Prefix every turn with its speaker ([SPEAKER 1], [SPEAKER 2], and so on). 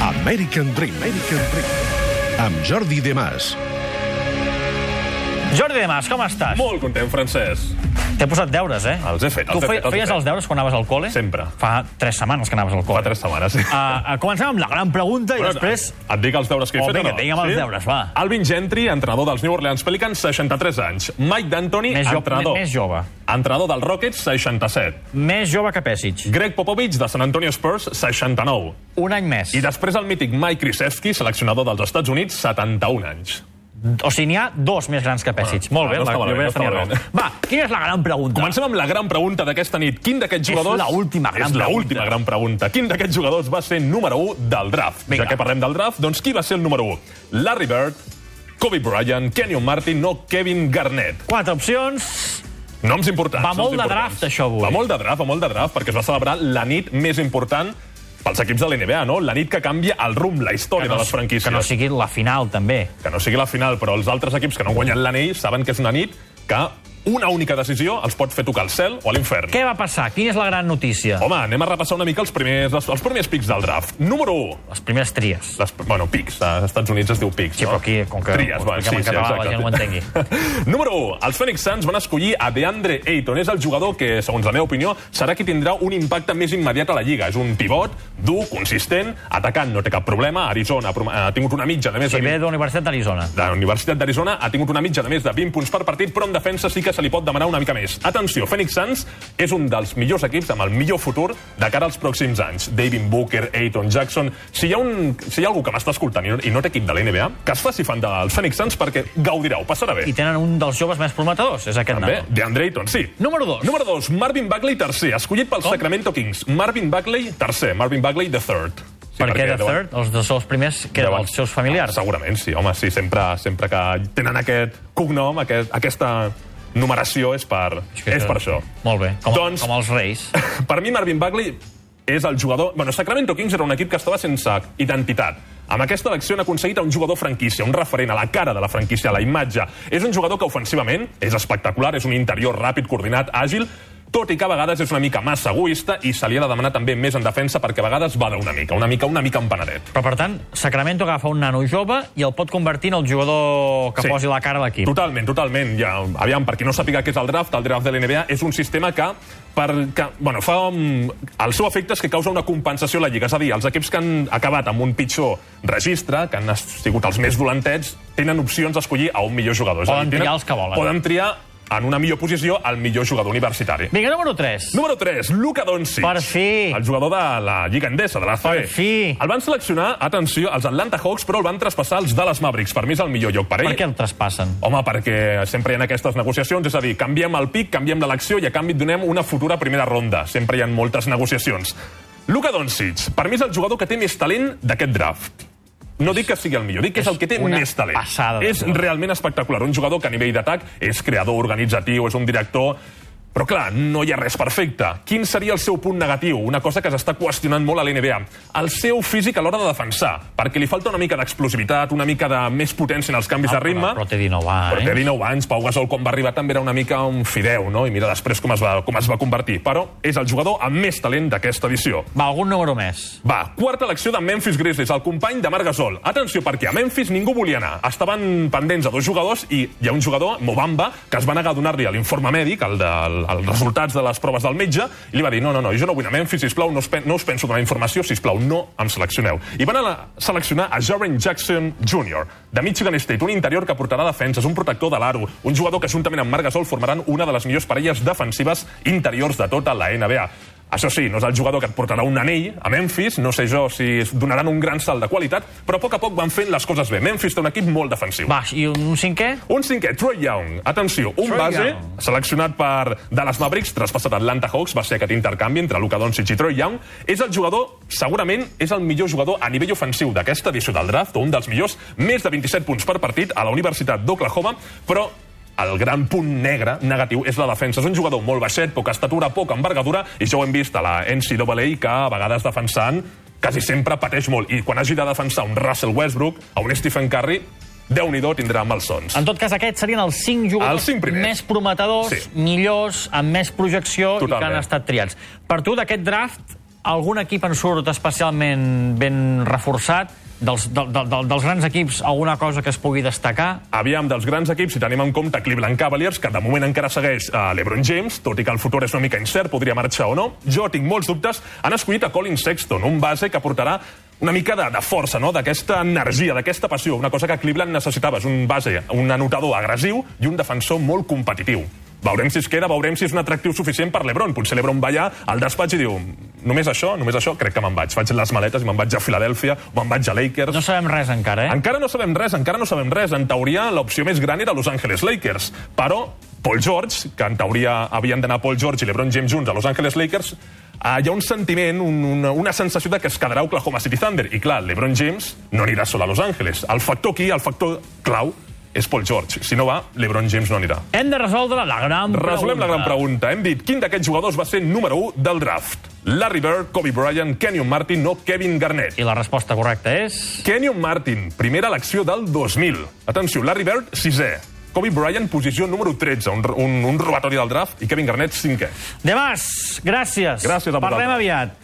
[SPEAKER 1] American Dream. American Dream. Amb Jordi De Mas.
[SPEAKER 2] Jordi Demas, com estàs?
[SPEAKER 3] Molt content, Francesc.
[SPEAKER 2] T'he posat deures, eh?
[SPEAKER 3] Els he fet, els
[SPEAKER 2] tu
[SPEAKER 3] he
[SPEAKER 2] fe-
[SPEAKER 3] fet, els he
[SPEAKER 2] feies
[SPEAKER 3] fet.
[SPEAKER 2] els deures quan anaves al col·le?
[SPEAKER 3] Sempre.
[SPEAKER 2] Fa tres setmanes que anaves al
[SPEAKER 3] Fa
[SPEAKER 2] col·le.
[SPEAKER 3] tres eh, setmanes. Sí.
[SPEAKER 2] Uh, uh, comencem amb la gran pregunta i després...
[SPEAKER 3] Et dic els deures que he
[SPEAKER 2] Oh,
[SPEAKER 3] fet
[SPEAKER 2] vinga,
[SPEAKER 3] o no?
[SPEAKER 2] digue'm els deures, va.
[SPEAKER 3] Alvin Gentry, entrenador dels New Orleans Pelicans, 63 anys. Mike D'Antoni,
[SPEAKER 2] Més, jo,
[SPEAKER 3] entrenador.
[SPEAKER 2] més jove.
[SPEAKER 3] Entrenador dels Rockets, 67.
[SPEAKER 2] Més jove que Pessic.
[SPEAKER 3] Greg Popovich, de San Antonio Spurs, 69.
[SPEAKER 2] Un any més.
[SPEAKER 3] I després el mític Mike Krzyzewski, seleccionador dels Estats Units, 71 anys.
[SPEAKER 2] O sigui, n'hi ha dos més grans que Pessic. Molt
[SPEAKER 3] Ah,
[SPEAKER 2] bé, la,
[SPEAKER 3] no està
[SPEAKER 2] jo
[SPEAKER 3] malament,
[SPEAKER 2] vaig
[SPEAKER 3] no està
[SPEAKER 2] tenir raó.
[SPEAKER 3] malament.
[SPEAKER 2] Va, quina és la gran pregunta?
[SPEAKER 3] Comencem amb la gran pregunta d'aquesta nit. Quin
[SPEAKER 2] És
[SPEAKER 3] d'aquests jugadors...
[SPEAKER 2] la última gran
[SPEAKER 3] És la
[SPEAKER 2] pregunta.
[SPEAKER 3] última gran pregunta. Quin d'aquests jugadors va ser número 1 del draft?
[SPEAKER 2] Vinga.
[SPEAKER 3] Ja que parlem del draft, doncs qui va ser el número 1? Larry Bird, Kobe Bryant, Kenyon Martin o Kevin Garnett.
[SPEAKER 2] Quatre opcions.
[SPEAKER 3] Noms importants.
[SPEAKER 2] Va
[SPEAKER 3] noms
[SPEAKER 2] molt de
[SPEAKER 3] importants.
[SPEAKER 2] draft, això, avui.
[SPEAKER 3] Va molt de draft, va molt de draft, perquè es va celebrar la nit més important pels equips de l'NBA, no? La nit que canvia el rumb, la història de les franquícies.
[SPEAKER 2] que no sigui la final, també.
[SPEAKER 3] que no sigui la final, però els altres equips que no han guanyat l'anell saben que és una nit que una única decisió els pot fer tocar al cel o a l'infern.
[SPEAKER 2] Què va passar? Quina és la gran notícia?
[SPEAKER 3] Home, anem a repassar una mica els primers, els, els primers pics del draft. Número 1.
[SPEAKER 2] Les primeres tries.
[SPEAKER 3] Les, bueno, pics. eh, Als Estats Units es diu pics,
[SPEAKER 2] Sí,
[SPEAKER 3] no?
[SPEAKER 2] però aquí, com que
[SPEAKER 3] Tries,
[SPEAKER 2] ho
[SPEAKER 3] va,
[SPEAKER 2] expliquem en català, la
[SPEAKER 3] exacte.
[SPEAKER 2] gent ho entengui.
[SPEAKER 3] Número 1. Els Phoenix Suns van escollir a DeAndre Ayton. És el jugador que, segons la meva opinió, serà qui tindrà un impacte més immediat a la Lliga. És un pivot, dur, consistent, atacant, no té cap problema. Arizona ha prom- ha tingut una mitja de més
[SPEAKER 2] Si
[SPEAKER 3] de
[SPEAKER 2] ve
[SPEAKER 3] 20
[SPEAKER 2] de la Universitat d'Arizona.
[SPEAKER 3] de la Universitat d'Arizona ha tingut una mitja de més de 20 punts per partit, però en defensa sí que se li pot demanar una mica més. Atenció, Phoenix Suns és un dels millors equips amb el millor futur de cara als pròxims anys. David Booker, Ayton Jackson... Si hi ha, un, si hi ha algú que m'està escoltant i no, i no té equip de la NBA, que es faci fan dels Phoenix Suns perquè gaudirà, ho passarà bé.
[SPEAKER 2] I tenen un dels joves més prometedors, és aquest
[SPEAKER 3] També,
[SPEAKER 2] nano.
[SPEAKER 3] DeAndre Ayton, sí.
[SPEAKER 2] Número dos.
[SPEAKER 3] Número 2, Marvin Bagley, tercer, escollit pels Sacramento Kings. Marvin Bagley, tercer. Marvin Bagley, the third. Sí,
[SPEAKER 2] Per què de
[SPEAKER 3] deuen-
[SPEAKER 2] third? Els dos els primers que eren els seus familiars.
[SPEAKER 3] Ah, segurament, sí, home, sí, sempre, sempre que tenen aquest cognom, aquest, aquesta numeració és per, és
[SPEAKER 2] que-
[SPEAKER 3] per això.
[SPEAKER 2] Molt bé, com,
[SPEAKER 3] Doncs-
[SPEAKER 2] com els reis.
[SPEAKER 3] Per mi, Marvin Bagley és el jugador... Bueno, Sacramento Kings era un equip que estava sense identitat. Amb aquesta elecció han aconseguit un jugador franquícia, un referent a la cara de la franquícia, a la imatge. És un jugador que ofensivament és espectacular, és un interior ràpid, coordinat, àgil, tot i que a vegades és una mica massa egoista i se li ha de demanar també més en defensa perquè a vegades bada una mica, una mica, una mica empanadet.
[SPEAKER 2] Però, per tant, Sacramento agafa un nano jove i el pot convertir en el jugador que
[SPEAKER 3] Sí.
[SPEAKER 2] posi la cara a l'equip.
[SPEAKER 3] Totalment, totalment. Ja, aviam, per qui no sàpiga què és el draft, el draft de l'NBA és un sistema que, per, que bueno, fa, mm, el seu efecte és que causa una compensació a la Lliga. És a dir, els equips que han acabat amb un pitjor registre, que han sigut els més dolentets, tenen opcions d'escollir a un millor jugador. És a dir,
[SPEAKER 2] Poden triar
[SPEAKER 3] tenen-
[SPEAKER 2] els que volen.
[SPEAKER 3] Poden triar en una millor posició el millor jugador universitari.
[SPEAKER 2] Vinga, número 3.
[SPEAKER 3] Número 3, Luka Doncic.
[SPEAKER 2] Per fi.
[SPEAKER 3] El jugador de la Lliga Endesa, de l'ACB.
[SPEAKER 2] Per fi.
[SPEAKER 3] El van seleccionar, atenció, els Atlanta Hawks, però el van traspassar als Dallas Mavericks. Per mi és el millor lloc per ell.
[SPEAKER 2] Per què el traspassen?
[SPEAKER 3] Home, perquè sempre hi ha aquestes negociacions, és a dir, canviem el pic, canviem l'elecció i a canvi et donem una futura primera ronda. Sempre hi ha moltes negociacions. Luka Doncic, per mi és el jugador que té més talent d'aquest draft. No dic que sigui el millor, dic que és,
[SPEAKER 2] És
[SPEAKER 3] el que té
[SPEAKER 2] una
[SPEAKER 3] més talent.
[SPEAKER 2] passada de
[SPEAKER 3] És
[SPEAKER 2] jugador.
[SPEAKER 3] realment espectacular. Un jugador que a nivell d'atac és creador, organitzatiu, és un director... Però clar, no hi ha res perfecte. Quin seria el seu punt negatiu? Una cosa que s'està qüestionant molt a l'NBA. El seu físic a l'hora de defensar, perquè li falta una mica d'explosivitat, una mica de més potència en els canvis de
[SPEAKER 2] Ah,
[SPEAKER 3] ritme.
[SPEAKER 2] Però, però té 19 anys.
[SPEAKER 3] Però té 19 anys, Pau Gasol quan va arribar també era una mica un fideu, no? I mira després com es va, com es va convertir. Però és el jugador amb més talent d'aquesta edició.
[SPEAKER 2] eh? Va, algun número més.
[SPEAKER 3] Va, quarta elecció de Memphis Grizzlies, el company de Marc Gasol. Atenció, perquè a Memphis ningú volia anar. Estaven pendents a dos jugadors i hi ha un jugador, Mobamba, que es va negar a donar-li l'informe mèdic, el de, el, els resultats de les proves del metge, i li va dir, no, no, no, jo no vull anar a Memphis, sisplau, no us, pen no us penso donar informació, sisplau, no em seleccioneu. I van a la- seleccionar a Jaren Jackson Jr., de Michigan State, un interior que portarà defenses, un protector de l'aro, un jugador que juntament amb Marc Gasol formaran una de les millors parelles defensives interiors de tota la NBA. Això sí, no és el jugador que et portarà un anell a Memphis, no sé jo si es donaran un gran salt de qualitat, però a poc a poc van fent les coses bé. Memphis té un equip molt defensiu.
[SPEAKER 2] Va, i un cinquè?
[SPEAKER 3] Un cinquè, Troy Young. Atenció, un
[SPEAKER 2] Trae
[SPEAKER 3] base
[SPEAKER 2] Young.
[SPEAKER 3] seleccionat per Dallas Mavericks, traspassat a Atlanta Hawks, va ser aquest intercanvi entre Luka Doncic i Troy Young. És el jugador, segurament, és el millor jugador a nivell ofensiu d'aquesta edició del draft, o un dels millors, més de 27 punts per partit a la Universitat d'Oklahoma, però el gran punt negre, negatiu, és la defensa. És un jugador molt baixet, poca estatura, poca envergadura, i ja ho hem vist a la NCAA, que a vegades defensant quasi sempre pateix molt. I quan hagi de defensar un Russell Westbrook, a un Stephen Curry, Déu-n'hi-do tindrà malsons.
[SPEAKER 2] En tot cas, aquests serien els 5
[SPEAKER 3] Els
[SPEAKER 2] jugadors
[SPEAKER 3] cinc primers.
[SPEAKER 2] més prometedors,
[SPEAKER 3] Sí.
[SPEAKER 2] millors, amb més projecció i que
[SPEAKER 3] Totalment.
[SPEAKER 2] han estat triats. Per tu, d'aquest draft, algun equip en surt especialment ben reforçat? Dels, del, del, del- dels grans equips, alguna cosa que es pugui destacar?
[SPEAKER 3] Aviam, dels grans equips, si tenim en compte Cleveland Cavaliers, que de moment encara segueix a l'Ebron James, tot i que el futur és una mica incert, podria marxar o no, jo tinc molts dubtes, han escollit a Colin Sexton, un base que portarà una mica de, de força, no? d'aquesta energia, d'aquesta passió, una cosa que Cleveland necessitava, és un base, un anotador agressiu i un defensor molt competitiu. Veurem si es queda, veurem si és un atractiu suficient per l'Ebron. Potser l'Ebron va allà al despatx i diu "Mm, només això, només això, crec que me'n vaig. Faig les maletes i me'n vaig a Filadèlfia, o me'n vaig a Lakers.
[SPEAKER 2] No sabem res encara, eh?
[SPEAKER 3] Encara no sabem res, encara no sabem res. En teoria, l'opció més gran era Los Angeles Lakers, però Paul George, que en teoria havien d'anar Paul George i LeBron James junts a Los Angeles Lakers, eh, hi ha un sentiment, un, una, una sensació de que es quedarà Oklahoma City Thunder. I clar, LeBron James no anirà sol a Los Angeles. El factor aquí, el factor clau, és Paul George. Si no va, LeBron James no anirà.
[SPEAKER 2] Hem de resoldre la gran pregunta.
[SPEAKER 3] Resolem la gran pregunta. Hem dit quin d'aquests jugadors va ser número 1 del draft. Larry Bird, Kobe Bryant, Kenyon Martin o Kevin Garnett.
[SPEAKER 2] I la resposta correcta és...
[SPEAKER 3] Kenyon Martin, primera elecció del 2000. Atenció, Larry Bird, sisè. Kobe Bryant, posició número 13, un, un, un robatori del draft, i Kevin Garnett, cinquè.
[SPEAKER 2] De Mas, gràcies.
[SPEAKER 3] Gràcies a vosaltres.
[SPEAKER 2] Parlem aviat.